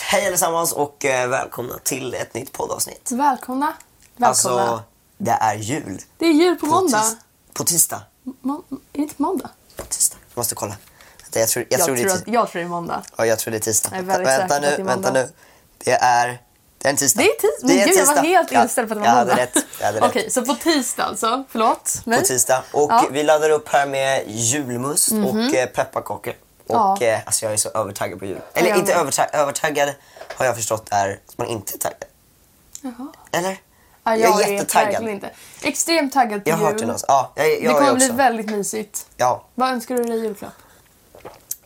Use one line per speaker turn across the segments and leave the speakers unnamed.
Hej allesammans och eh, välkomna till ett nytt poddavsnitt.
Så välkomna. Välkomna.
Alltså, det är jul.
det är jul på,
På
måndag.
tis- På tisdag.
Må- är det inte på måndag?
På tisdag. Jag måste kolla. Vänta, jag, tror, jag, tror det är
tror
tis-
att, jag tror det är måndag.
ja, jag tror det är tisdag.
Jag är väldigt
vänta
säker på att det
nu,
är
vänta
måndag.
nu. Det är, det är en tisdag.
Det är tisdag. Men
Det är
gud, jag var
tisdag.
helt
Ja,
inställd på att det
jag
var
hade
måndag.
rätt. Jag hade rätt.
Okej, så på tisdag alltså. Förlåt mig.
På tisdag. Och
Ja. Mhm.
vi laddar upp här med julmust och eh, pepparkakor. Och
Ja.
eh, alltså jag är så övertaggad på jul. Eller
Jag
inte
med.
övertag- övertaggad har jag förstått är att man inte är taggad.
Jaha.
Eller?
Ja,
jag
jag
är jättetaggad.
verkligen inte. Extremt taggad på
Jag har
jul.
hört det någonstans. Ja, jag, jag,
det
är
kommer
också.
bli väldigt mysigt.
Ja,
Vad önskar du dig i julklapp?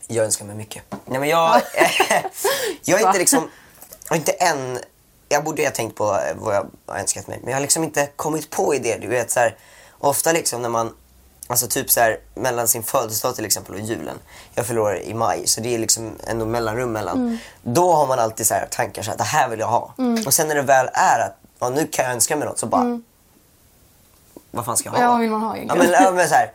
jag önskar mig mycket. Nej men jag... jag är
Va?
inte liksom... Jag är inte än... Jag borde ju ha tänkt på eh, vad jag har önskat mig. Men jag har liksom inte kommit på idéer. Du vet så här, Ofta liksom när man... Alltså typ så här mellan sin födelsedag till exempel och julen. Jag förlorar i maj så det är liksom ändå mellanrum mellan.
Mm.
Då har man alltid så här tankar så här, det här vill jag ha. Och sen när det väl är att ja, nu kan jag önska mig något så bara
Mm.
vad fan ska jag ha?
Ja, vad vill man ha
ja,
egentligen? Mm.
men, ja, men så här.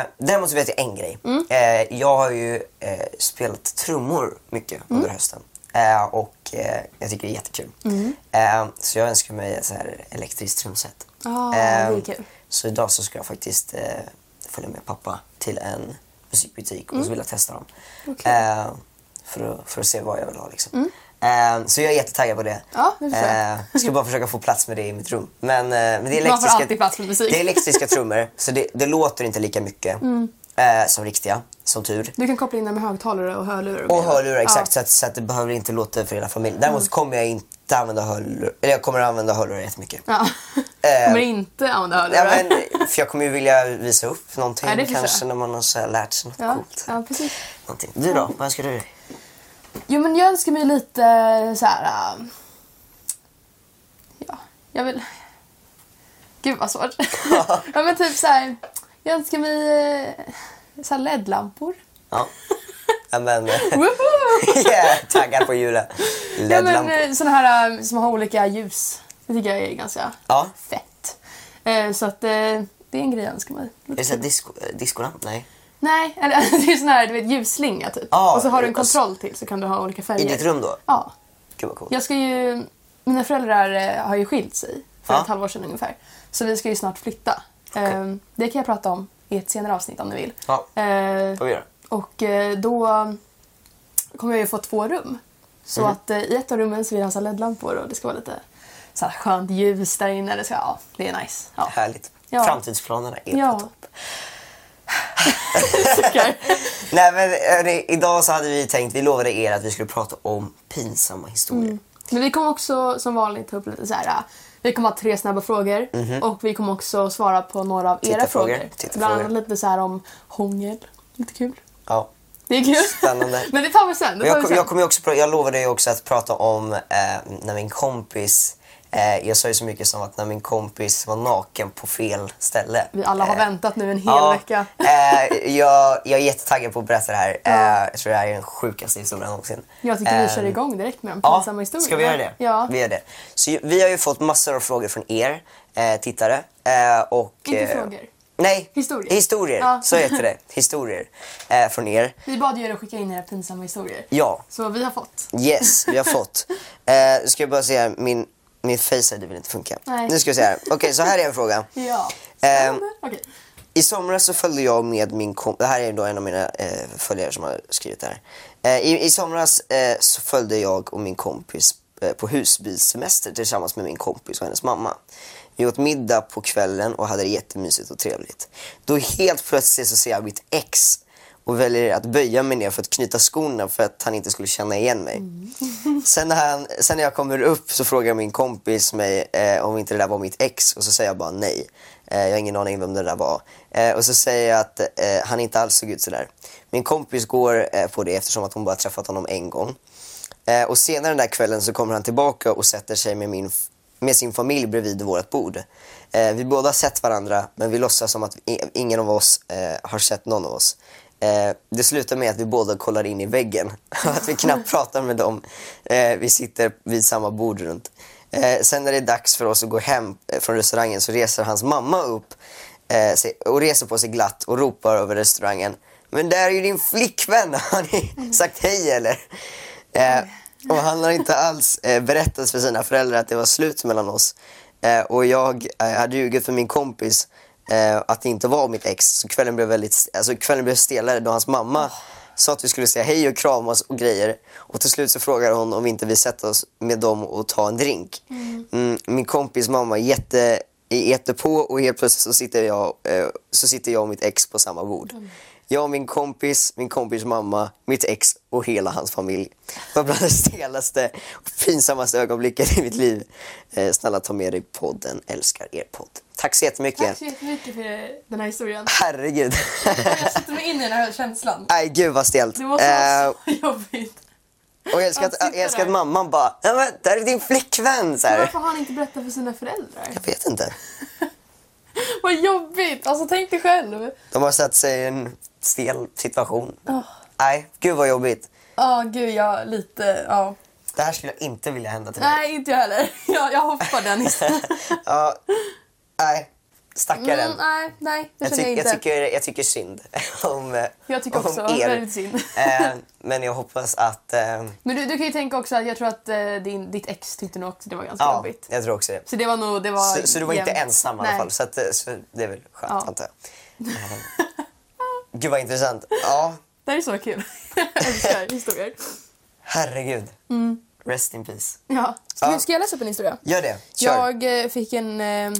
Eh, däremot så vet jag en grej. Eh, jag har ju eh, spelat trummor mycket under
Mm.
hösten. Eh, och eh, jag tycker det är jättekul.
Mm.
Eh, så jag önskar mig ett så här elektriskt trumset. Ehm,
Ah, det är kul.
Så idag så ska jag faktiskt eh, följa med pappa till en musikbutik
Mm.
och så vill jag testa dem. Eh, för, att, för att se vad jag vill ha liksom. Eh, så jag är jättetaggad på det.
Mm. Ja, det förstår jag.
Eh, jag ska bara försöka få plats med det i mitt rum. Men, eh, men det är
Man får
elektriska,
alltid plats med musik.
Det är elektriska trummor, så det, det låter inte lika mycket
Mm.
eh, som riktiga, som tur.
Du kan koppla in den med högtalare och hörlurar.
Och hörlurar,
Ja. Mm.
exakt. Så, att, så att det behöver inte låta för hela familjen. Däremot så kommer jag inte använda hörlurar, eller jag kommer att använda hörlurar jättemycket.
Ja.
Eh,
Kommer inte använda
Ja,
hörlurar.
men, för jag kommer ju vilja visa upp någonting
Ja, det förstår jag.
kanske när man har så här lärt sig något
ja.
coolt.
ja, precis.
Någonting. Du då, vad önskar du dig?
Jo men jag önskar mig lite så här. äh, Ja, jag vill... Gud vad svårt. ja men typ så här. Jag önskar mig äh, så här LED-lampor.
Ja. ja men,
Woho!
yeah, taggad på julen.
ja men
LED-lampor.
äh, såna här äh, som har olika ljus. Det tycker jag är ganska
Ja.
fett. Äh, Så att äh, det är en grej jag önskar mig.
Är det så här disco, eh, discolamp? Nej.
Nej, eller det är sån här du vet, ljusslinga typ.
Ja,
och så har du en
alltså-
kontroll till så kan du ha olika färger.
I ditt rum då?
Ja.
Gud vad coolt.
Jag ska ju... Mina föräldrar eh, har ju skilt sig för
Ja.
ett halvår sedan ungefär. Så vi ska ju snart flytta. Eh, Det kan jag prata om i ett senare avsnitt om ni vill.
Ja,
Eh,
får vi göra.
Och eh, då kommer jag ju få två rum. Så
Mhm.
att eh, i ett av rummen så vill jag ha så här LED-lampor och det ska vara lite så här skönt ljus där inne. Det, ska, ja, det är nice. Ja.
Härligt.
Ja.
Framtidsplanerna är på
Ja.
topp.
Suckar.
Nej men hörni, idag så hade vi tänkt, vi lovade er att vi skulle prata om pinsamma historier.
Mm. Men vi kommer också som vanligt ta upp lite så här. eh, Vi kommer ha tre snabba frågor och vi kommer också svara på några av era
Mhm. Tittarfrågor,
frågor.
tittarfrågor.
Bland annat lite så här om hångel. Lite kul.
Ja.
Det är kul.
Spännande.
Men det tar vi sen. Det
Men
tar
jag,
vi
kom-
sen.
jag, kommer ju också, pra- jag lovade ju också att prata om eh, när min kompis eh, jag sa ju så mycket som att när min kompis var naken på fel ställe.
Vi alla har
Eh,
väntat nu en hel vecka.
eh, jag, jag är jättetaggad på att berätta det här. Eh, jag tror det här är den sjukaste historien någonsin.
Jag tycker vi
Eh,
kör igång direkt med de
Ja,
pinsamma historierna.
ska vi göra det?
Ja.
Vi gör det. Så ju- vi har ju fått massor av frågor från er eh, tittare. Eh, och,
Inte
eh,
frågor.
Nej,
Historier.
historier.
Ja.
Så heter det. Historier eh, från er.
Vi bad ju er att skicka in era pinsamma historier.
Ja,
Så vi har fått.
Yes, vi har fått. Eh, ska jag bara se här, min, min face-id vill inte funka.
Nej.
Nu ska vi se här. Okej, så här är en fråga.
Ja.
Ehm.
Spännande. Okej.
I somras så följde jag med min kompis, det här är då en av mina eh, följare som har skrivit det här. Eh, i, I somras eh, så följde jag och min kompis eh, på husbilssemester tillsammans med min kompis och hennes mamma. Vi åt middag på kvällen och hade det jättemysigt och trevligt. Då helt plötsligt så ser jag mitt ex och väljer att böja mig ner för att knyta skorna för att han inte skulle känna igen mig. Sen när, han, sen när jag kommer upp så frågar min kompis mig eh, om inte det där var mitt ex och så säger jag bara nej. Eh, jag har ingen aning vem det där var. Eh, och så säger jag att eh, han inte alls såg ut sådär. Min kompis går eh, på det eftersom att hon bara träffat honom en gång. Eh, och senare den där kvällen så kommer han tillbaka och sätter sig med, min, f- med sin familj bredvid vårt bord. Eh, vi båda har sett varandra men vi låtsas som att i- ingen av oss eh, har sett någon av oss. Eh, det slutar med att vi båda kollar in i väggen och att vi knappt pratar med dem. Eh, vi sitter vid samma bord runt. Eh, sen när det är dags för oss att gå hem eh, från restaurangen så reser hans mamma upp eh, sig- och reser på sig glatt och ropar över restaurangen. Men där är ju din flickvän! Har ni sagt hej eller? Eh, Och han har inte alls eh, berättat för sina föräldrar att det var slut mellan oss. Eh, och jag eh, hade ljugit för min kompis eh, att det inte var mitt ex. Så kvällen blev, väldigt, alltså, kvällen blev stelare då hans mamma sa att vi skulle säga hej och kramas och grejer. Och till slut så frågade hon om vi inte vill sätta oss med dem och ta en drink. Mm, min kompis mamma är jätte, är jättepå och helt plötsligt så sitter, jag, eh, så sitter jag och mitt ex på samma bord.
Mm.
Jag och min kompis, min kompis mamma, mitt ex och hela hans familj. Det var bland det stelaste och pinsammaste ögonblicket i mitt liv. Eh, snälla ta med dig podden, älskar er podd. Tack så jättemycket.
Tack så jättemycket för den här historien.
Herregud.
Jag sitter mig in i den här känslan.
Nej, gud vad stelt.
Det måste
Eh,
vara så jobbigt.
Och jag älskar, att,
Han sitter
jag älskar att
där.
mamman bara, "Nej, men där är din flickvän! Så här.
Varför har han inte berättat för sina föräldrar?
Jag vet inte.
Vad jobbigt! Alltså tänk dig själv.
De har satt sig i en stel situation.
Åh,
Nej, gud vad jobbigt.
Ja, gud jag lite... Ja.
Det här skulle jag inte vilja hända till mig.
Nej, inte jag heller. Jag, jag hoppar den istället.
ja, nej, stackaren.
Mm, nej, nej, det
jag,
känner
ty- jag,
jag inte.
tycker, jag tycker synd om, eh,
Jag tycker
om
också
er.
väldigt synd.
eh, men jag hoppas att... Eh,
Men du, du kan ju tänka också att jag tror att eh, din, ditt ex tyckte nog också det var ganska
ja,
jobbigt.
jag tror också det.
Så det var nog... Det var
Så, så du var inte
jämnt.
ensam i
Nej.
alla fall. Så, att, eh, så det är väl skönt,
Ja.
antar jag. Eh, Gud vad intressant. Ja,
Det här är så kul. Jag älskar historier.
herregud.
Mm.
Rest in peace.
Ja. Ska,
Ja.
ska jag läsa upp en historia?
Gör det. Kör.
Jag eh, fick en, eh,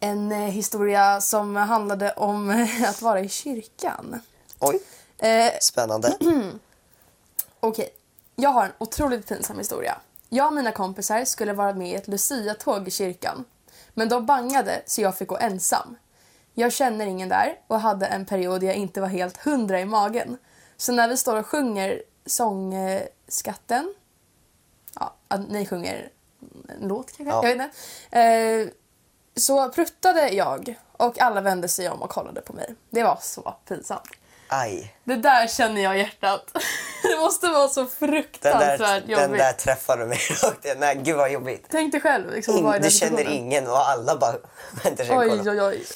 en eh, historia som handlade om eh, att vara i kyrkan.
Oj,
Eh,
spännande.
Okej, jag har en otroligt pinsam historia. Jag och mina kompisar skulle vara med i ett Lucia-tåg i kyrkan. Men de bangade så jag fick gå ensam. Jag känner ingen där och hade en period jag inte var helt hundra i magen. Så när vi står och sjunger sångskatten... Ja, att ni sjunger en låt kanske?
Ja.
Jag vet inte. Eh, så pruttade jag och alla vände sig om och kollade på mig. Det var så pinsamt.
Aj.
Det där känner jag i hjärtat. Det måste vara så
Den
fruktansvärt
där, den
jobbigt.
där träffade mig rakt i- Nej, gud vad jobbigt.
Tänk dig själv. Liksom,
In,
vad är
du
den
känner
situationen?
ingen och alla bara väntar sig och
Oj,
kollar.
oj, oj.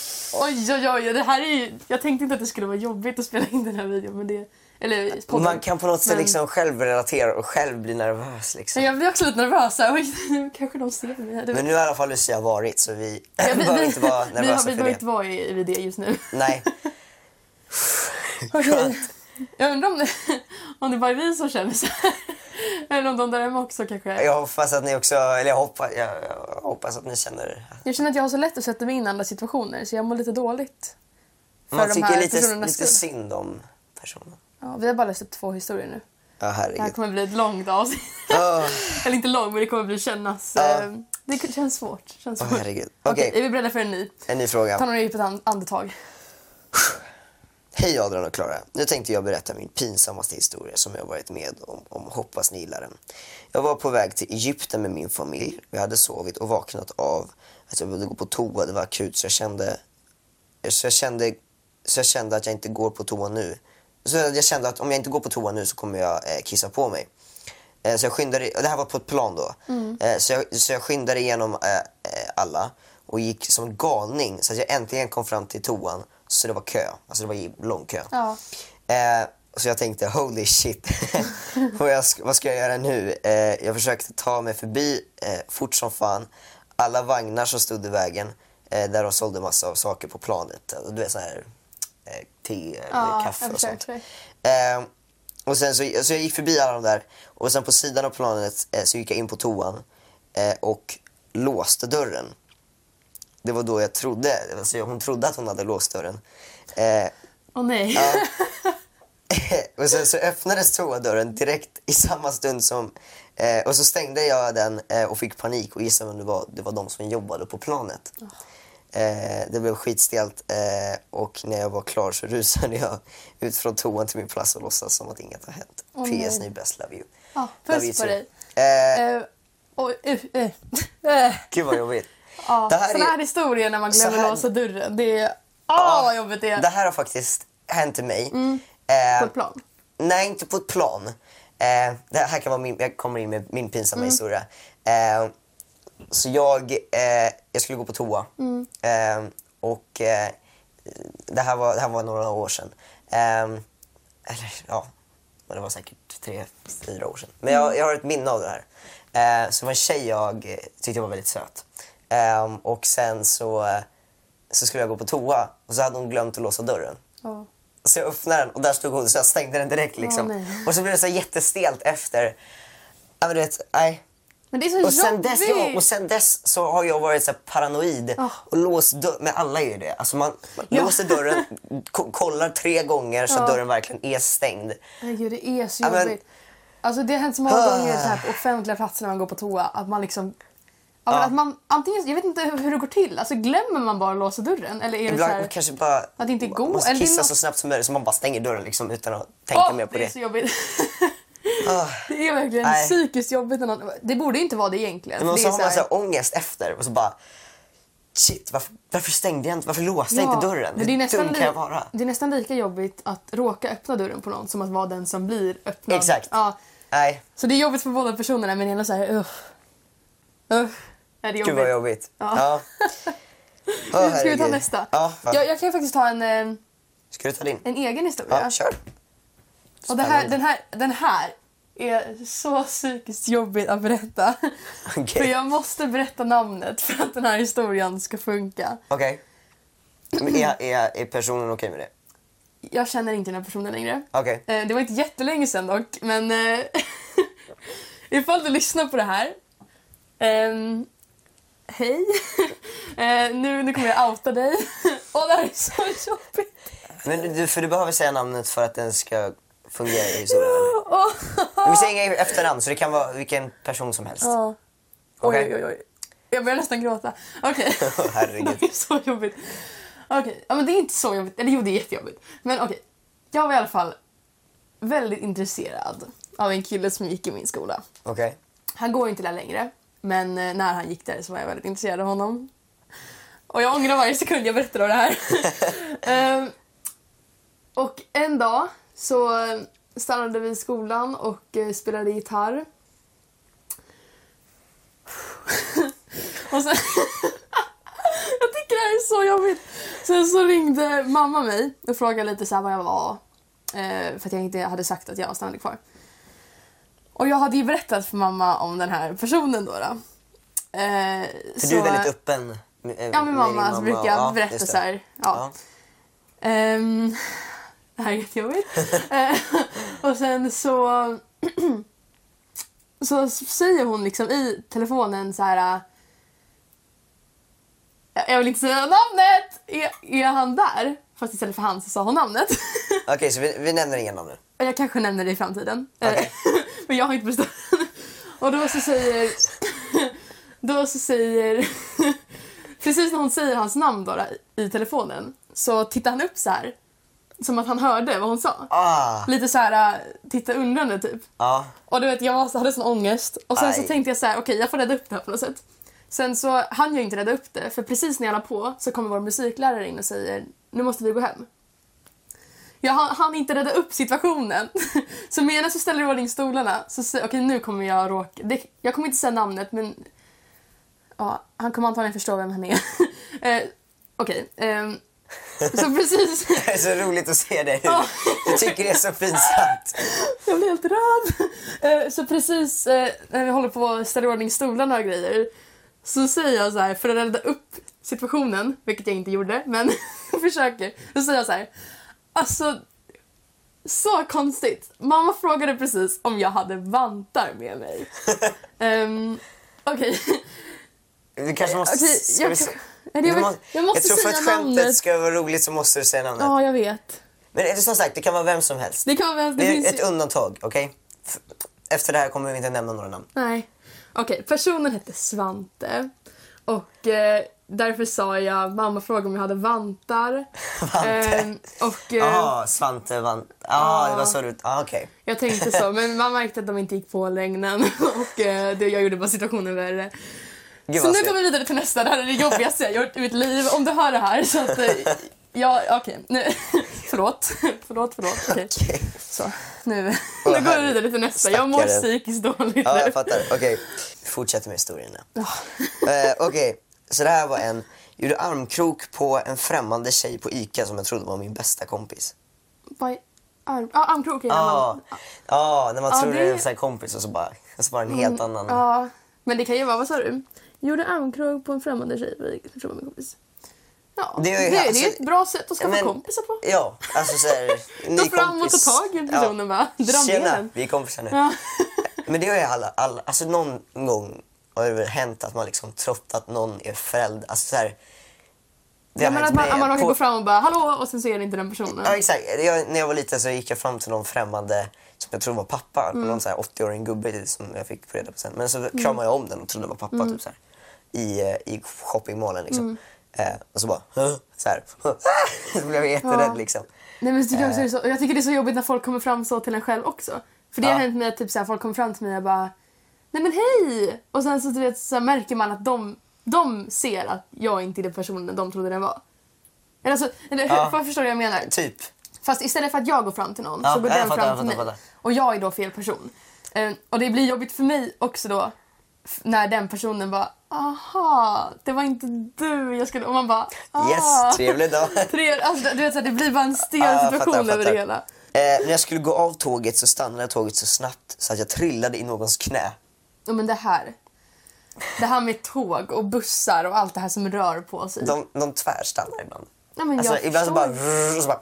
Oj, oj, oj. Det här är ju... Jag tänkte inte att det skulle vara jobbigt att spela in den här videon. Men det... Eller podden.
Man kan på något sätt
Men-
liksom själv relatera och själv bli nervös.
Men
Liksom.
Jag blir också lite nervös. så här. Oj, nu kanske de ser mig. här. Du-
Men nu har i alla fall Lucia varit så vi
Ja, vi-
behöver
vi-
inte vara
Vi har-
nervösa
vi
för
behöver
det.
inte vara i, vid det just nu.
Nej,
Okej. Jag undrar om det, om det bara är vi som känner så här. Eller om de där hemma också kanske...
jag hoppas att ni också, eller jag hoppas, jag, jag hoppas att ni känner.
Jag känner att jag har så lätt att sätta mig in i andra situationer så jag mår lite dåligt. För
Man
de
tycker
här
lite,
personernas
lite
skull.
synd om personen.
Ja, vi har bara läst upp två historier nu.
Ja,
Det här
herregud.
kommer bli ett långt avsnitt.
Åh,
Eller inte långt, men det kommer bli kännas...
Ja.
eh, Det känns svårt. Känns
åh,
svårt.
herregud.
Okej,
Okej,
är vi beredda för en ny?
en ny
Ta
fråga.
några djupa and- andetag.
Hej Adrian och Klara. Nu tänkte jag berätta min pinsammaste historia som jag varit med om, om hoppas ni gillar den. Jag var på väg till Egypten med min familj. Vi hade sovit och vaknat av att jag behövde gå på toa. Det var akut så jag kände så jag kände, så jag kände att jag inte går på toa nu. Så jag kände att om jag inte går på toa nu så kommer jag eh, kissa på mig. Eh, så jag skyndade, och det här var på ett plan då. Eh, så, jag, så jag skyndade igenom eh, eh, alla och gick som en galning så att jag äntligen kom fram till toan. Så det var kö, alltså det var ju lång kö.
Ja.
Eh, så jag tänkte holy shit, vad, jag, sk- vad ska jag göra nu? Eh, jag försökte ta mig förbi eh, fort som fan. Alla vagnar som stod i vägen eh, där de sålde massa av saker på planet. Alltså, Du vet så här eh, te eller
Ja,
kaffe
jag
och
förstår,
sånt.
jag
Eh, och sen så, så jag gick förbi alla de där och sen på sidan av planet eh, så gick jag in på toan eh, och låste dörren. Det var då jag trodde, alltså hon trodde att hon hade låst dörren. Eh,
Åh nej.
och sen så öppnades toadörren direkt i samma stund som... Eh, och så stängde jag den eh, och fick panik och gissa vem det var? Det var de som jobbade på planet.
Ah.
Eh, det blev skitstelt eh, och när jag var klar så rusade jag ut från toan till min plats och låtsas som att inget har hänt.
nej.
PS, ni är bäst, love you.
Ja,
Love you
puss på
too.
dig.
Eh,
Eh, Oj, uh, uh, uh.
gud vad jobbigt.
Ja,
Det här
såna
är-
här historier när man
så
glömmer
här-
låsa dörren. Det är... Åh, vad jobbigt det är. Mm.
Det här har faktiskt hänt mig.
På
Eh,
ett plan.
Nej, inte på ett plan. Eh, det här kan vara min, jag kommer in med min pinsamma historia. Eh, så jag, eh, jag skulle gå på toa. Eh, och eh, det, här var, det här var några år sedan. Eh, eller ja, Men det var säkert tre, fyra år sedan. Men jag, jag har ett minne av det här. Eh, så det var en tjej jag eh, tyckte var väldigt söt. Eh, och sen så, eh, så skulle jag gå på toa och så hade hon glömt att låsa dörren.
Ja.
Så jag öppnade den och där stod hon så jag stängde den direkt liksom.
nej.
och så blev det så här jättestelt efter. Ja men du vet, nej.
Men det är så
Och sen,
jobbigt!
dess, ja, och sen dess så har jag varit så här paranoid
Ah.
och låst dörren. Men alla är ju det. Alltså man, man
Ja.
låser dörren, ko- kollar tre gånger så
Ja.
att dörren verkligen är stängd.
Herregud, det är så
Ja, men-
jobbigt. Alltså det har hänt så många
Ah.
gånger så här på offentliga platser när man går på toa att man liksom... Ja, men
Ja.
Att man, antingen, jag vet inte hur det går till. Alltså glömmer man bara att låsa dörren? Eller är det så
Ibland
här...
kanske bara
att det inte går,
måste
eller det är
kissa
något-
så snabbt som möjligt så man bara stänger dörren liksom, utan att tänka
Åh,
mer på
det är
det.
så jobbigt.
Ah.
det är verkligen
Nej.
psykiskt jobbigt. när någon- Det borde ju inte vara det egentligen.
Men
det
så
är
har
så
man
här-
så här ångest efter och så bara shit varför, varför stängde jag inte, varför låste jag
Ja,
inte dörren?
men
Hur dum
li-
kan jag vara?
Det är nästan lika jobbigt att råka öppna dörren på någon som att vara den som blir öppnad.
Exakt.
Ja,
Nej,
så det är jobbigt för båda personerna men hela såhär uff. Uff. Nej, det är jobbigt.
gud vad jobbigt.
Ja.
Ja. Åh,
Ska vi ta
herregud.
nästa?
Ja, va?
jag, jag kan ju faktiskt ta en, eh,
Ska du ta din?
en egen historia.
Ja, kör.
Och det här,
Spännande.
den, här, den här är så psykiskt jobbigt att berätta.
Okej.
För jag måste berätta namnet för att den här historien ska funka.
Okej. Men Är, är, är personen okej med det?
Jag känner inte den här personen längre.
Okej.
Eh, Det var inte jättelänge sedan dock, men eh, ifall du lyssnar på det här. ehm, hej. Eh, nu, nu kommer jag outa dig. Åh, det här är så jobbigt.
Men du, för du behöver säga namnet för att den ska fungera i historien.
Åh.
Men Vi säger inga efternamn så det kan vara vilken person som helst.
Ja. Oj,
Okej.
oj, oj. Jag börjar nästan gråta. Okej.
Herregud.
det är så jobbigt. Okej, ja, men det är inte så jobbigt. Eller jo, det är jättejobbigt. Men okej. Jag var i alla fall väldigt intresserad av en kille som gick i min skola.
Okej.
Han går inte där längre, men eh, när han gick där så var jag väldigt intresserad av honom. Och jag ångrar varje sekund jag berättar om det här. Ehm, och en dag så stannade vi i skolan och eh, spelade gitarr. och sen... jag tycker det här är så jobbigt. Sen så ringde mamma mig och frågade lite så här vad jag var. eh, För att jag inte hade sagt att jag stannade kvar. Och jag hade ju berättat för mamma om den här personen då. då. Eh,
För du är väldigt öppen. eh,
Ja,
med
men
din
mamma så brukar jag
Ja,
berätta
just det.
så här. Ja.
Ja.
Ehm, det här är jättejobbigt. Eh, och sen så... så säger hon liksom i telefonen så här... eh, Jag vill inte säga namnet! Är, är han där? Fast istället för han så sa hon namnet.
Okej, så vi, vi nämner inga namn nu.
Och jag kanske nämner det i framtiden.
Okej.
Eh, Men jag har inte bestämt. Och då så säger... Då så säger... Precis när hon säger hans namn då, då, i telefonen så tittar han upp så här. Som att han hörde vad hon sa.
Ah!
Lite så här, eh, titta undrande typ.
Ja.
Och du vet, jag var, så- hade sån ångest. Och sen så
Aj.
tänkte jag så här, okej jag får rädda upp det här på något sätt. Sen så hann jag inte rädda upp det, för precis när jag la på så kommer vår musiklärare in och säger nu måste vi gå hem. Jag hann, hann inte rädda upp situationen. så medan jag ställer i ordning stolarna så säger okej nu kommer jag råka... Det, jag kommer inte säga namnet men... Ja, han kommer antagligen förstå vem han är. eh, okej. ehm, så precis...
Det är så roligt att se dig.
Ja.
Jag tycker det är så pinsamt.
Jag blir helt röd. Eh, Så precis eh, när vi håller på att ställa i ordning stolarna och grejer så säger jag så här för att rädda upp situationen, vilket jag inte gjorde, men försöker. Så säger jag så här. Alltså, så konstigt. Mamma frågade precis om jag hade vantar med mig. Ehm, Okej.
Du kanske måste...
Eh, Okej,
ska
jag,
vi-
kan- Nej, jag,
du
vet-
måste-
jag måste
tror för att
säga namnet.
skämtet ska vara roligt så måste du säga namnet.
Ja, jag vet.
Men det är som sagt, det kan vara vem som helst.
Det kan vara... Det,
Det är
finns
ett undantag, okej? F- Efter det här kommer vi inte nämna några namn.
Nej. Okej, personen hette Svante. Och eh, därför sa jag, mamma frågade om jag hade vantar.
Vante.
Ehm, och eh,
Jaha, Svante vann. Jaha, det var så du... Ah, okej.
jag tänkte så, men man märkte att de inte gick på lögnen. Och eh, det, jag gjorde bara situationen värre.
Gud
Så
vad
nu
synd.
går vi vidare till nästa, det här är det jobbigaste jag gjort i mitt liv. Om du hör det här så att... Eh, ja, okej. nu förlåt. Förlåt, förlåt. Okej.
Okej.
Så, nu, nu
Åh,
går vi
herregud.
vidare till nästa. Jag mår
Stackaren.
psykiskt dåligt
Ja,
nu.
jag fattar. Okej. Vi fortsätter med historien nu.
Ja.
Eh, Okej, så det här var en... Gjorde armkrok på en främmande tjej på ICA som jag trodde var min bästa kompis.
Vad är arm... Ah, armkrok är det
Ja,
man-
Ja, när man
Ja,
tror
det- Mm.
det är en sån här kompis och så bara, och så bara en helt annan.
Ja, men det kan ju vara, vad sa du? Gjorde armkrok på en främmande tjej vi tror jag var min kompis. Ja,
Det
det
är ju-
är, det,
alltså-
är ett bra sätt att skaffa
Men-
kompisar på.
Ja, alltså såhär, ny
Gå fram och ta
kompis.
tag i personen bara, dra med
Tjena,
den.
vi är kompisar nu.
Ja.
Men det har ju alla, alla, alltså någon gång har det väl hänt att man liksom trott att någon är förälder. Alltså så här, det
Ja,
har
men
hänt
att man,
mig
att man råkar
på-
gå fram och bara hallå och sen så är det inte den personen.
Ja exakt, jag, när jag var liten så gick jag fram till någon främmande som jag trodde var pappa,
Mm.
någon så här 80-årig gubbe typ, som jag fick reda på sen. Men så kramade jag om den och trodde det var
Mm.
pappa typ så här, i, eh, i shoppingmallen liksom. Eh, och så bara "Huh?" så här. så blev jag jätterädd
Ja.
liksom.
Nej, men så tycker
Eh.
jag, också det är så, och jag tycker det är så jobbigt när folk kommer fram så till en själv också. För det
Ja.
har hänt mig att typ, så här, folk kommer fram till mig och bara Nej men hej! Och sen så, du vet, så här, märker man att de, de ser att jag inte är den personen de trodde den var. Eller, alltså, eller hur,
Ja.
för- förstår du vad jag menar?
Typ.
Fast istället för att jag går fram till någon
Ja,
så går
jag
den
fattar, jag
fram till
fattar,
mig.
fattar.
Och jag är då fel person. Eh, och det blir jobbigt för mig också då f- när den personen bara aha, det var inte du jag skulle... Och man bara ah.
Yes, trevlig dag.
Tre- alltså, du vet, så här, det blir bara en stel
Ja, Ah, jag fattar,
situation
jag
över
fattar.
det hela.
Eh, när jag skulle gå av tåget så stannade tåget så snabbt så att jag trillade i någons knä.
Ja, men det här. Det här med tåg och bussar och allt det här som rör på sig.
De, de tvärstannar ibland.
Ja, men
alltså,
jag
ibland så bara,
förstår.
och så bara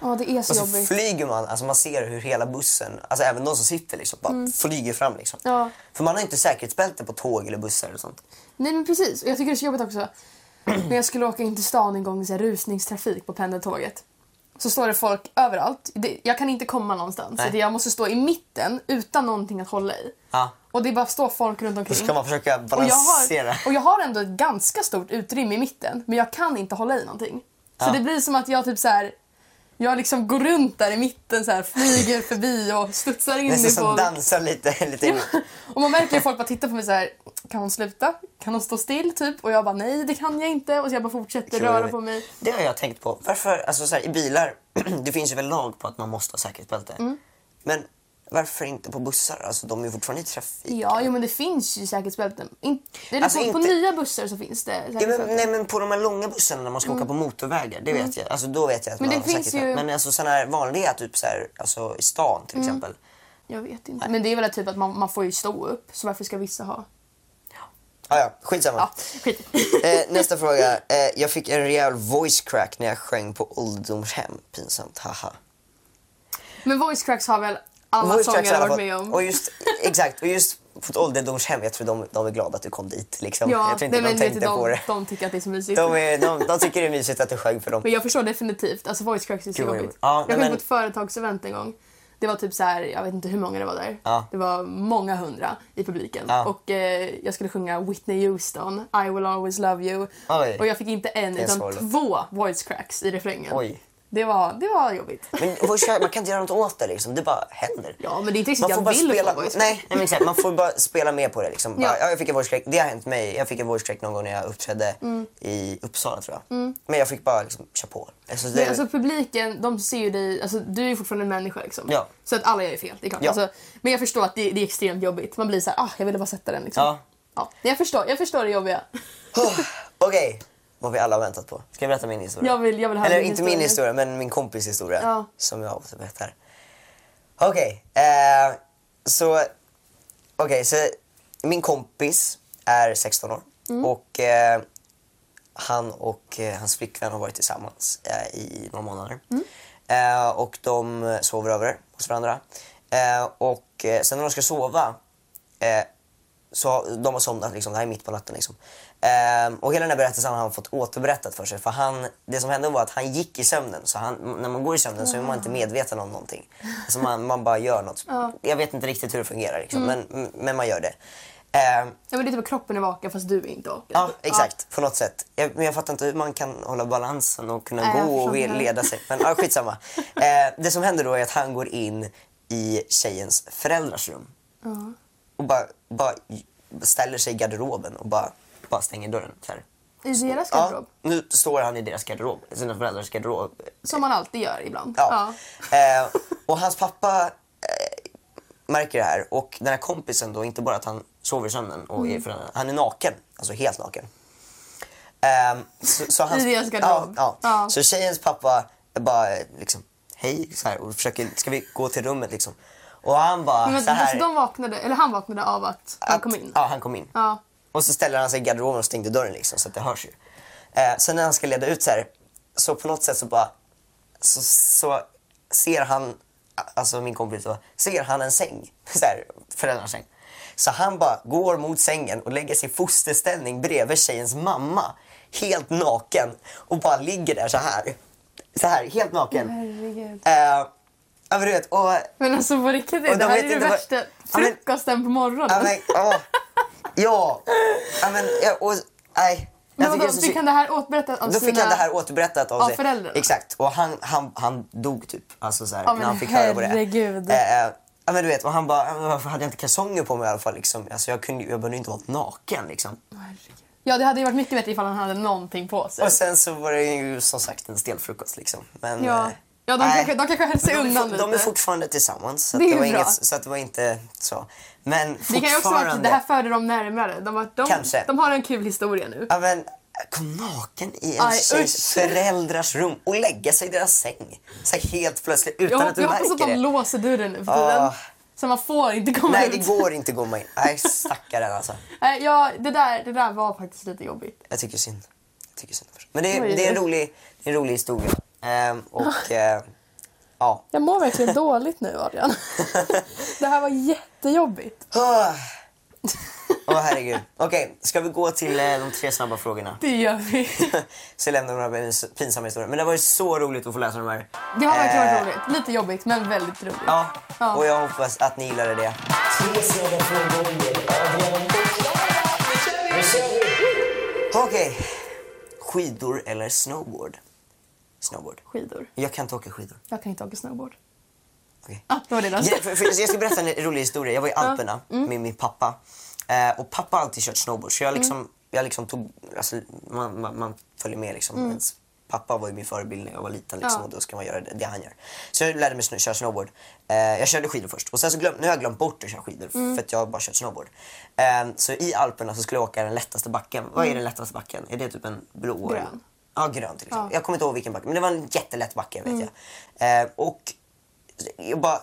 Ja, det är så,
Och så
jobbigt.
flyger man, alltså man ser hur hela bussen, alltså även de som sitter liksom, bara flyger fram liksom.
Mm. Ja.
För man har inte säkerhetsbälte på tåg eller bussar och sånt.
Nej, men precis. Och jag tycker det är så jobbigt också. När jag skulle åka in till stan en gång i så här rusningstrafik på pendeltåget. Så står det folk överallt. Det, jag kan inte komma någonstans.
Nej.
Så Jag måste stå i mitten utan någonting att hålla i.
Ja.
Och det bara står folk runt
Och
omkring.
så kan man försöka
Och jag,
balansera.
har, och jag har ändå ett ganska stort utrymme i mitten, men jag kan inte hålla i någonting. Så
Ja.
det blir som att jag typ så här. Jag liksom går runt där i mitten så här, flyger förbi och studsar in
Nästan
i
som
folk.
dansar lite. lite in.
Och man märker ju folk bara titta på mig så här. kan hon sluta? Kan hon stå still? Typ. Och jag bara nej, det kan jag inte. Och så jag bara fortsätter
Kul.
röra på mig.
Det har jag tänkt på. Varför, alltså så här, i bilar, det finns ju väl lag på att man måste ha säkerhetsbälte.
Mm.
Men varför inte på bussar? Alltså de är ju fortfarande i trafik.
Ja, jo, men det finns ju säkerhetsbälten. In, eller
Alltså,
på, på
inte-
nya bussar så finns det
Ja,
säkerhetsbälten.
men, nej men på de här långa bussarna när man ska åka på motorvägar, det vet jag. Alltså då vet jag att
Mm. Men
man
det
har
finns
säkerhetsbälte.
ju- Mm.
Men alltså sådana här vanliga, typ så här, alltså i stan till exempel.
Jag vet inte. Men det är väl typ att man, man får ju stå upp, så varför ska vissa ha?
Ah, ja, skitsamma.
Ja, skit.
Eh, nästa fråga. Eh, jag fick en rejäl voice crack när jag sjöng på ålderdomshem. Pinsamt, haha.
Men voice cracks har väl alla
Voice cracks i
sångare
alla
varit
fall.
med om?
Och just, exakt, och just på ett ålderdomshem, jag tror de, de är glada att du kom dit. Liksom.
ja,
jag tror inte
nej,
de
men vet
tänkte
du, de,
på det.
de tycker att det är så mysigt.
De, är, de, de tycker det är mysigt att du sjöng för dem.
Men jag förstår definitivt. Alltså voice cracks är så
Gud, vad
jobbigt.
jobbigt. Ja,
jag
nej,
sjöng på
men-
ett företagsevent en gång. Det var typ så här, jag vet inte hur många det var där.
Ja.
Det var många hundra i publiken.
Ja.
Och eh, jag skulle sjunga Whitney Houston, I will always love you.
Oj.
Och jag fick inte en
är
utan
sorgligt.
två voice cracks i refrängen.
Oj.
Det var, det var jobbigt.
Men voice crack, man kan inte göra något åt det, liksom. det bara händer.
Ja, men det är inte riktigt
Man får
jag
bara
vill
spela,
få voice
nej,
cracks.
nej, men exakt, man får bara spela med på det. Liksom. Bara,
Ja.
ja. jag fick en voice crack. Det har hänt mig. Jag fick en voice crack någon gång när jag uppträdde
Mm.
i Uppsala tror jag. Men jag fick bara liksom, köra på. Alltså, det,
Men alltså publiken, de ser ju dig, alltså du är ju fortfarande en människa liksom.
Ja.
Så att alla gör ju fel, det är klart.
Ja.
Alltså, men jag förstår att det, det är extremt jobbigt. Man blir så här, ah, jag ville bara sätta den liksom.
Ja.
Ja, jag förstår, jag förstår det jobbiga.
Oh, Okej, vad vi alla har väntat på. Ska jag berätta min historia?
Jag vill, jag vill höra
Eller
din
inte min historia, men min kompis historia
Ja.
som jag återberättar. Okej, eh, så... Okej, så min kompis är 16 år
Mm.
och eh, han och eh, hans flickvän har varit tillsammans eh, i några månader.
Mm.
Eh, och de sover över hos varandra. Eh, och eh, sen när de ska sova eh, så har- de har somnat, liksom, det här är mitt på natten. Liksom. Ehm, och hela den här berättelsen har han fått återberättat för sig. För han, det som hände var att han gick i sömnen. Så han, när man går i sömnen så är man inte medveten om någonting. Alltså man, man bara gör något. Jag vet inte riktigt hur det fungerar, liksom, men, men man gör det. Ehm,
Ja, men det är typ att kroppen är vaken fast du är inte vaken.
Ja, exakt. På något sätt. Jag, men jag fattar inte hur man kan hålla balansen och kunna
Nej, Äh, jag
gå och
förstår inte
vill-
heller.
leda sig. Men ja, skitsamma. eh, det som händer då är att han går in i tjejens föräldrars rum. Och bara, bara ställer sig i garderoben och bara, bara stänger dörren. Så här.
Ja. I deras
Ja,
garderob.
nu står han i deras garderob, sina föräldrars garderob.
Som man alltid gör ibland.
Ja. Eh, och hans pappa eh, märker det här och den här kompisen då, inte bara att han sover i sömnen och
Mm.
är föräldrarna, han är naken, alltså helt naken. Ehm, så, så hans,
I deras garderob.
ja, ja.
Ja.
Så tjejens pappa bara eh, liksom, hej så här, och försöker, ska vi gå till rummet liksom? Och han bara
Men
så här,
så de vaknade, eller han vaknade av att han
att-
kom in.
Ja, han kom in.
Ja.
Och så ställer han sig i garderoben och stängde dörren liksom, så att det hörs ju. Eh, sen när han ska leda ut så här, så på något sätt så bara, så, så ser han, alltså min kompis då, ser han en säng, så här, föräldrarnas säng. Så han bara går mot sängen och lägger sig i fosterställning bredvid tjejens mamma, helt naken och bara ligger där så här. Så här, helt naken.
Herregud.
Eh, ja, men du vet, och
Men alltså på riktigt, det,
Och de
här
vet
är det
inte vad-
värsta.
Ja, men-
Frukosten på morgonen.
Ja, men, ja. ja. ja, men, ja, och, nej.
men
Jag
vadå,
tycker det är så
fick
synd.
han det här åtberättat av
Då
sina...
fick han det här återberättat av
av
sig.
föräldrarna.
Exakt. Och han, han, han dog typ. Alltså så här,
Ja,
när
men
han fick höra på
herregud.
det. Eh, eh, ja men du vet, och han bara, "Ja, men varför hade jag inte kalsonger på mig i alla fall liksom? Alltså jag kunde ju, jag behövde ju inte vara naken liksom.
Herregud. Ja, det hade ju varit mycket bättre ifall han hade någonting på sig.
Och sen så var det ju som sagt en stelfrukost liksom. Men,
ja.
eh,
ja, de
nej.
kanske, de kanske höll sig
de, är,
undan
fort-
lite.
de är fortfarande tillsammans. Så,
Det
att
är
det var
ju bra.
inget, så att det var inte så. Men
det kan ju också vara att
fortfarande-
det här förde dem närmare. De, var, de,
Kanske.
de har en kul historia nu.
Ja men, kom naken i en
Aj,
tjejs
usch.
föräldrars rum och lägga sig i deras säng. Så här helt plötsligt utan att
jag hop-
du
jag hoppas
märker
att de
det.
låser dörren nu för
Ah.
tiden. Så man får inte komma
Nej
ut.
det går inte att gå in. Nej stackaren alltså.
Nej, ja, det, där, det där var faktiskt lite jobbigt.
Jag tycker synd. Jag tycker synd. Men det är,
Oj.
det är, en, rolig, det är en rolig historia. Ehm, och eh, ja.
Jag mår verkligen dåligt nu, Adrian. det här var jättejobbigt.
Ah. Åh herregud. Okej, ska vi gå till eh, de tre snabba frågorna?
Det gör vi.
Så lämnar vi några pins- pinsamma historier. Men det var ju så roligt att få läsa de här.
Det har verkligen
Eh,
varit roligt. Lite jobbigt, men väldigt roligt.
Ja,
Ja.
och jag hoppas att ni gillade det. Okej. Skidor eller snowboard? Snowboard.
Skidor.
Jag kan inte åka skidor.
Jag kan inte åka snowboard.
Okej.
Ah, det var det då.
Ja, för, för jag ska berätta en rolig historia. Jag var i Alperna
Mm.
med min pappa. Eh, och pappa har alltid kört snowboard. Så jag liksom, jag liksom tog, alltså, man, man, man följer med liksom. Ens pappa var ju min förebild när jag var liten liksom,
Mm. Ja.
och då ska man göra det, det han gör. Så jag lärde mig snö, köra snowboard. Eh, jag körde skidor först och sen så glöm, nu har jag glömt bort att köra skidor
Mm.
för att jag har bara kört snowboard. Eh, så i Alperna så skulle jag åka den lättaste backen. Vad är den lättaste backen? Är det typ en blå?
Mm. Grön.
eller- Ja, grön till exempel.
Ja. Mm.
Jag kommer inte ihåg vilken backe men det var en jättelätt backe vet jag. Eh, och jag bara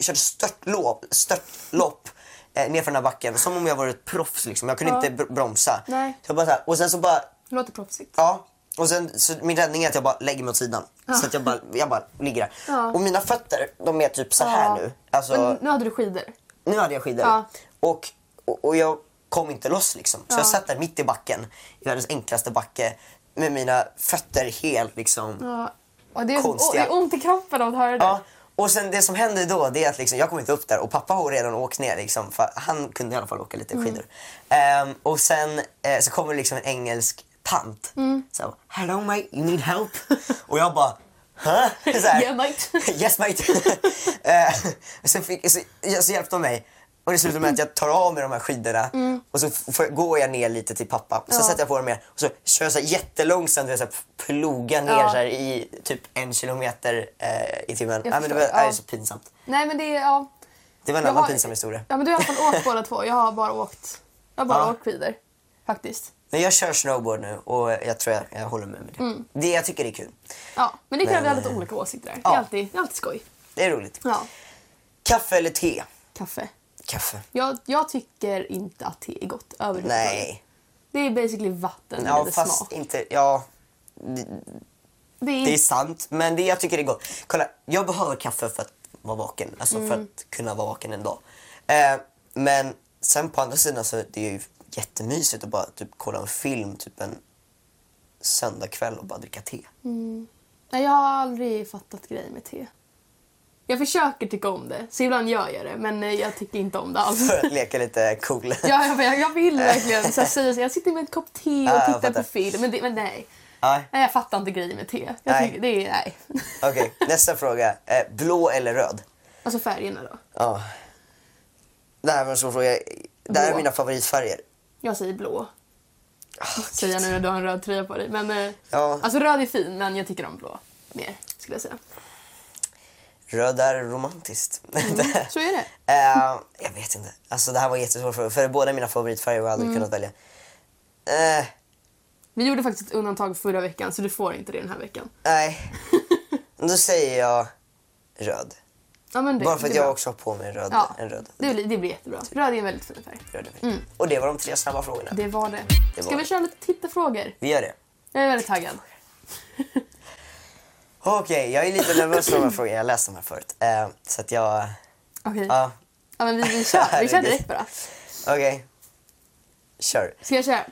körde störtlopp, störtlopp eh, nerför den här backen som om jag var ett proffs liksom. Jag kunde
Ja.
inte br- bromsa.
Nej.
Så jag bara så här, och sen så bara,
Det låter proffsigt.
ja. Och sen, så min räddning är att jag bara lägger mig åt sidan. Så att jag bara, jag bara ligger där.
Ja.
Och mina fötter, de är typ så här
Ja.
nu. Alltså,
Men nu hade du skidor.
nu hade jag skidor.
Ja.
Och, och, och jag kom inte loss liksom. Så
Ja.
jag satt där mitt i backen, i världens enklaste backe. Med mina fötter helt liksom.
Ja. Och det, är, och det
Konstiga.
är ont i kroppen av att höra det.
Ja, och sen det som hände då det är att liksom, jag kom inte upp där och pappa har redan åkt ner. Liksom, för han kunde i alla fall åka lite
Mm.
skidor. Ehm, och sen eh, så kommer liksom en engelsk tant.
Mm.
Så jag bara, hello mate, you need help? och jag bara, huh? Så här,
Yeah, mate.
yes mate. Eh, och sen fick, så, ja, så hjälpte de mig. Och det slutade med att jag tar av mig de här skidorna och så f- får- går jag ner lite till pappa. Sen
Mm. Ja.
sätter jag på dem igen och så kör jag så här jättelångsamt, du vet, så här, plogar ner
Ja.
så här, i typ en kilometer eh, i timmen.
Jag
Ja, men det var
förstår,
ja. det är
ja.
så pinsamt.
Nej, men det är... Ja.
Det var en
Jag
annan
har-
pinsam historia.
ja, men du har i alla fall åkt båda två. Jag har bara åkt, jag har bara
Ja.
åkt skidor. Faktiskt.
Men jag kör snowboard nu och jag tror jag, jag håller med med det.
Mm.
Det jag tycker det är kul.
Ja, men det är klart
Men,
att vi har lite
eh,
olika åsikter där. Det,
ja.
är alltid, det är alltid skoj.
Det är roligt.
Ja.
Kaffe eller te?
Kaffe.
Kaffe.
Jag, jag tycker inte att te är gott överhuvudtaget.
Nej.
Det är basically vatten med
Ja,
lite
fast
Mm. smak.
inte... Ja,
Det är,
det är sant. Men det jag tycker det är gott. Kolla, jag behöver kaffe för att vara vaken. Alltså för att kunna vara vaken en dag. Eh, men sen på andra sidan så är det är ju jättemysigt att bara typ kolla en film typ en söndagkväll och bara dricka te.
Nej, jag har aldrig fattat grejen med te. Jag försöker tycka om det, så ibland gör jag det. Men eh, jag tycker inte om det alls.
För att leka lite cool.
Ja, jag, jag, jag vill verkligen så här, säga så. Jag sitter med en kopp te
Ja, jag
och tittar
fattar.
på film. Men, det, men nej.
Nej.
nej, jag fattar inte grejen med te. Jag
Nej.
tycker, det är, nej.
Okej, nästa fråga. Eh, blå eller röd?
Alltså färgerna då.
Ja. Det här var en svår fråga. Det här är
Blå.
mina favoritfärger.
Jag säger blå. säger jag nu när du har en röd tröja på dig. Men, eh,
Ja.
Alltså röd är fin, men jag tycker om blå mer skulle jag säga.
Röd är romantiskt.
Så är det.
Eh, jag vet inte. Alltså, det här var en jättesvår fråga. För båda mina favoritfärger har jag
Mm.
aldrig kunnat välja. Eh,
Vi gjorde faktiskt ett undantag förra veckan, så du får inte det den här veckan.
nej. Då säger jag röd.
Ja, men det,
Bara för
det
att
är
jag
bra.
också har på mig en röd.
Ja,
En röd.
Det, blir, det blir jättebra. Röd är en väldigt fin färg.
röd över. Och det var de tre snabba frågorna.
Det var det.
Det
Ska
var
vi
det.
köra lite tittarfrågor?
Vi gör det.
Jag är väldigt taggad.
Okej, jag är lite nervös för de här frågorna. Jag har läst de här förut. Eh, så att jag...
Okej.
Ja,
Ja, men vi, vi kör. Vi kör direkt bara.
okej. Kör.
Ska jag köra?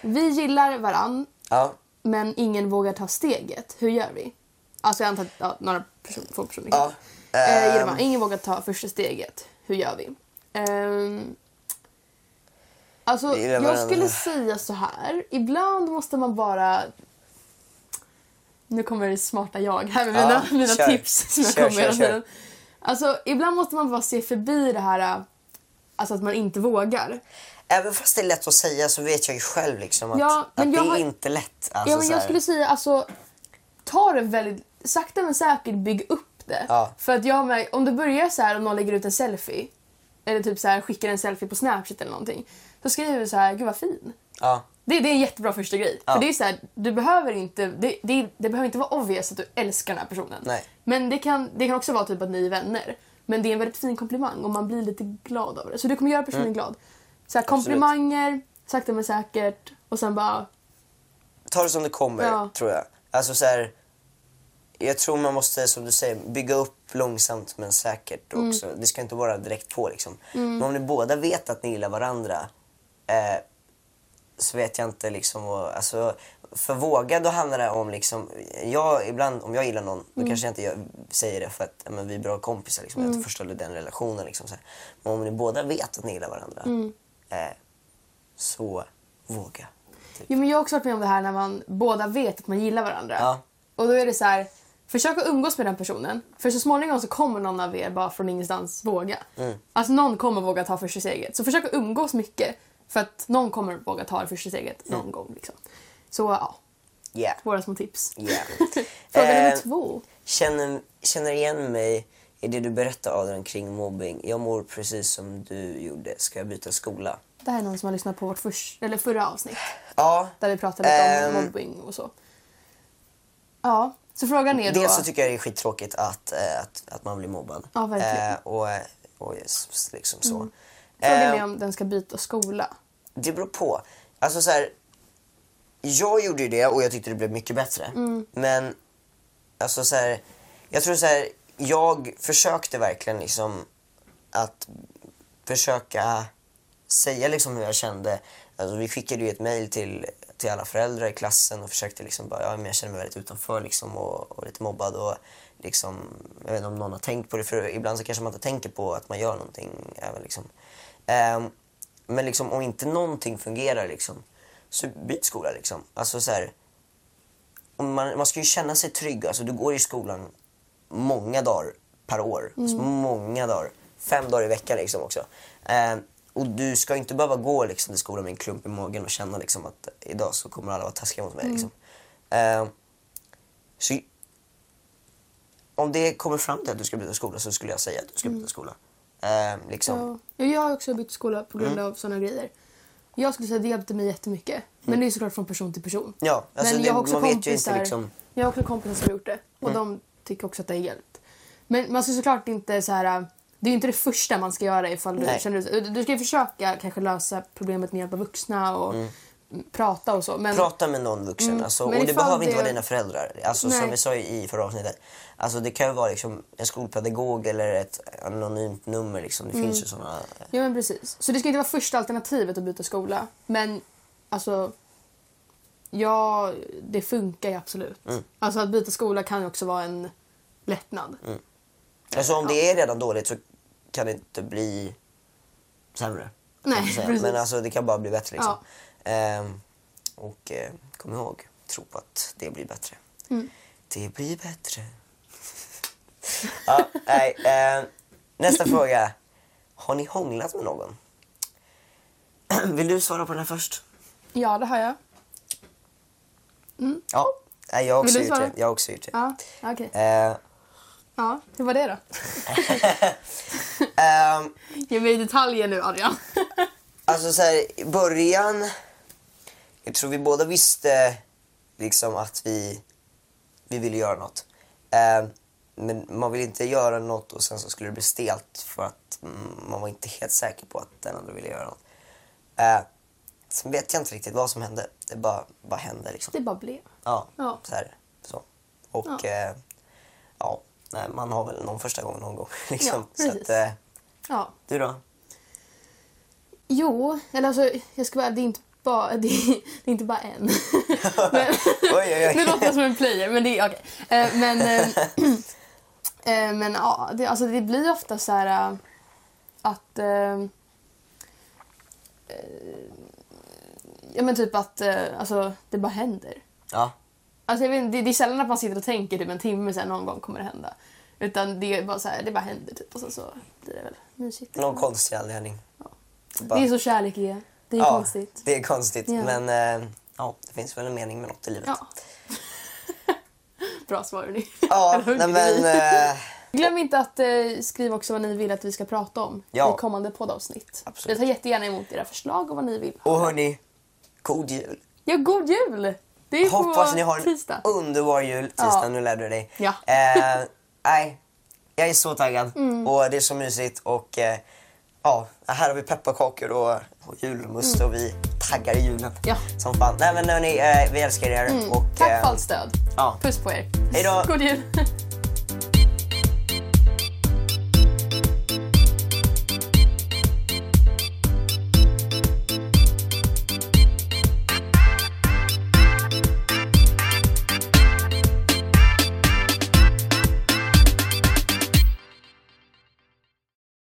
Vi gillar varann,
Ja.
men ingen vågar ta steget. Hur gör vi? Alltså jag antar att ja, några person, få personer
Ja,
Eh, gillar
ehm.
varann. Ingen vågar ta första steget. Hur gör vi? Ehm, alltså,
Vi gillar
jag
varann.
skulle säga så här. Ibland måste man bara... Nu kommer det smarta jag här med
Ja,
mina, mina
kör.
tips som jag
Kör,
kommer
kör,
hela
kör.
tiden. Alltså, ibland måste man bara se förbi det här alltså att man inte vågar.
Även fast det är lätt att säga så vet jag ju själv liksom att,
Ja, men
att det
jag
är
har-
inte lätt. Alltså,
Ja, men
så
jag
här.
skulle säga alltså, ta det väldigt sakta men säkert, bygg upp det.
Ja.
För att jag med, om det börjar så här om någon lägger ut en selfie eller typ så här skickar en selfie på Snapchat eller någonting. Så skriver du så här, gud vad fin.
Ja,
Det, det är en jättebra första grej.
Ja.
För det är så här, du behöver inte, det, det, det behöver inte vara obvious att du älskar den här personen.
Nej.
Men det kan, det kan också vara typ att ni är vänner. Men det är en väldigt fin komplimang och man blir lite glad av det. Så du kommer göra personen
Mm.
glad. Så här, komplimanger, sakta men säkert och sen bara
ta det som det kommer
Ja.
tror jag. Alltså så här, jag tror man måste som du säger bygga upp långsamt men säkert också. Det ska inte vara direkt på liksom. Men om ni båda vet att ni gillar varandra eh, så vet jag inte liksom och, alltså, för våga då handlar det om liksom, jag, ibland om jag gillar någon då kanske jag inte gör, säger det för att ja, men vi är bra kompisar liksom, jag förstår den relationen liksom så här. Men om ni båda vet att ni gillar varandra eh, så våga. Typ.
Jo, men jag har också varit med om det här när man båda vet att man gillar varandra.
Ja.
Och då är det så här, försök att umgås med den personen. För så småningom så kommer någon av er bara från ingenstans våga.
Mm.
Alltså någon kommer våga ta första steget. Så försök att umgås mycket. För att någon kommer våga ta det första steget
Mm.
någon gång. Liksom. Så ja,
Yeah.
våra små tips.
Yeah.
Fråga nummer
Eh,
två.
känner, känner igen mig i det du berättar Adrian kring mobbing. Jag mår precis som du gjorde. Ska jag byta skola?
Det här är någon som har lyssnat på vårt förs- eller förra avsnitt.
Ja.
Där vi pratade lite om
Ehm.
mobbing och så. Ja, så frågan är då...
Dels så tycker jag det är skittråkigt att, eh, att, att man blir mobbad.
Ja, verkligen. Mm.
Eh, och, och s- s- liksom så.
frågan
Eh,
är om den ska byta skola.
Det beror på. Alltså så här, jag gjorde ju det och jag tyckte det blev mycket bättre.
Mm.
Men alltså så här, jag tror så här, jag försökte verkligen liksom att försöka säga liksom hur jag kände. Alltså vi skickade ju ett mejl till, till alla föräldrar i klassen och försökte liksom bara, ja men jag känner mig väldigt utanför liksom och, och lite mobbad och liksom, jag vet inte om någon har tänkt på det för ibland så kanske man inte tänker på att man gör någonting även liksom. Ehm, men liksom om inte någonting fungerar liksom, så byt skola liksom. Alltså så här, och man, man ska ju känna sig trygg. Alltså, du går i skolan många dagar per år. Alltså, många dagar. Fem dagar i veckan liksom också. Eh, och du ska ju inte behöva gå liksom, till skolan med en klump i magen och känna liksom, att idag så kommer alla vara taskiga mot mig. Liksom. Eh, så om det kommer fram till att du ska byta skola så skulle jag säga att du ska byta skola. Eh, liksom. Mm.
Ja, jag har också bytt skola på grund av sådana grejer. Jag skulle säga att det hjälpte mig jättemycket. Men det är såklart från person till person.
Mm. Ja, alltså
men
det- man vet ju inte liksom- Mm.
Jag har också kompisar som har gjort det. Och de tycker också att det har hjälpt. Men man ska såklart inte så här... Det är ju inte det första man ska göra ifall du
Nej.
känner dig... Du ska ju försöka kanske lösa problemet med hjälp av vuxna och prata och så. Men
Mm.
Mm,
Prata med någon vuxen. Alltså,
Men
och det
ifall
behöver inte
det-
vara dina föräldrar. Alltså,
Nej.
som vi sa i förra avsnittet. Alltså, det kan ju vara liksom, en skolpedagog eller ett anonymt nummer. Liksom. Det
Mm.
finns ju sådana.
Ja men precis. Så det ska inte vara första alternativet att byta skola. Men alltså, ja, det funkar ju absolut.
Mm.
Alltså att byta skola kan ju också vara en lättnad.
Alltså, om det är redan dåligt så kan det inte bli sämre. kan
Nej,
man säga.
precis.
Men alltså, det kan bara bli bättre. Liksom. Ehm, och eh, kom ihåg, tro på att det blir bättre.
Mm.
Det blir bättre. ja, nej, ehm, nästa fråga. Har ni hånglat med någon? Vill du svara på den här först?
Ja, det har jag.
Ja, nej, jag har
Vill
också,
du
gjort
svara?
det. Jag har också gjort det.
Ja, okej.
Eh,
Ja, hur var det då?
ehm,
Ge mig detaljer nu Adrian.
Alltså så här, i början... Jag tror vi båda visste liksom att vi, vi ville göra något. Eh, men man vill inte göra något och sen så skulle det bli stelt för att mm, man var inte helt säker på att den andra ville göra något. Eh, sen vet jag inte riktigt vad som hände. Det bara, bara hände liksom.
Det bara blev.
Ja,
Ja.
så är det. Så. Och
Ja.
ja. Eh, ja, nej, man har väl någon första gång någon gång. Liksom.
Ja,
så
precis.
att, eh,
Ja.
du då?
Jo, eller alltså jag ska vara det är inte bara, det är, det är inte bara en. men,
Oj, oj, oj.
Nu låter jag som en player, men det är okej. Eh, men eh, eh, men ja, det, alltså, det blir ofta så här eh, att... Eh, eh, ja men typ att eh, alltså, det bara händer.
Ja,
Alltså, jag vet, inte, det, det är sällan att man sitter och tänker typ en timme sen någon gång kommer det hända. Utan det är bara så här, det bara händer typ och sen så blir det väl mysigt.
någon konstig anledning.
Det är så kärlek är. Det är
ja,
konstigt.
Det är konstigt,
Ja.
men eh, ja, det finns väl en mening med något i livet.
Ja. Bra svar ni.
Ja, nej, men... Eh,
Glöm inte att eh, skriva också vad ni vill att vi ska prata om
Ja.
i kommande poddavsnitt.
Absolut.
Vi tar jättegärna emot era förslag och vad ni vill.
och hörni, god jul!
Ja, god jul! Det är
Hoppas
på
ni har en
tisdag.
underbar jul. Tisdag,
Ja.
nu lärde du dig.
Ja.
Eh, nej, jag är så taggad
Mm.
och det är så mysigt och eh, ja, här har vi pepparkakor och, och julmust
Mm.
och vi taggar i julen
Ja. mm.
som fan. Nej men hörni, eh, vi älskar er och
Tack
eh,
för allt stöd.
ja.
Puss på er.
Hej då.
God jul!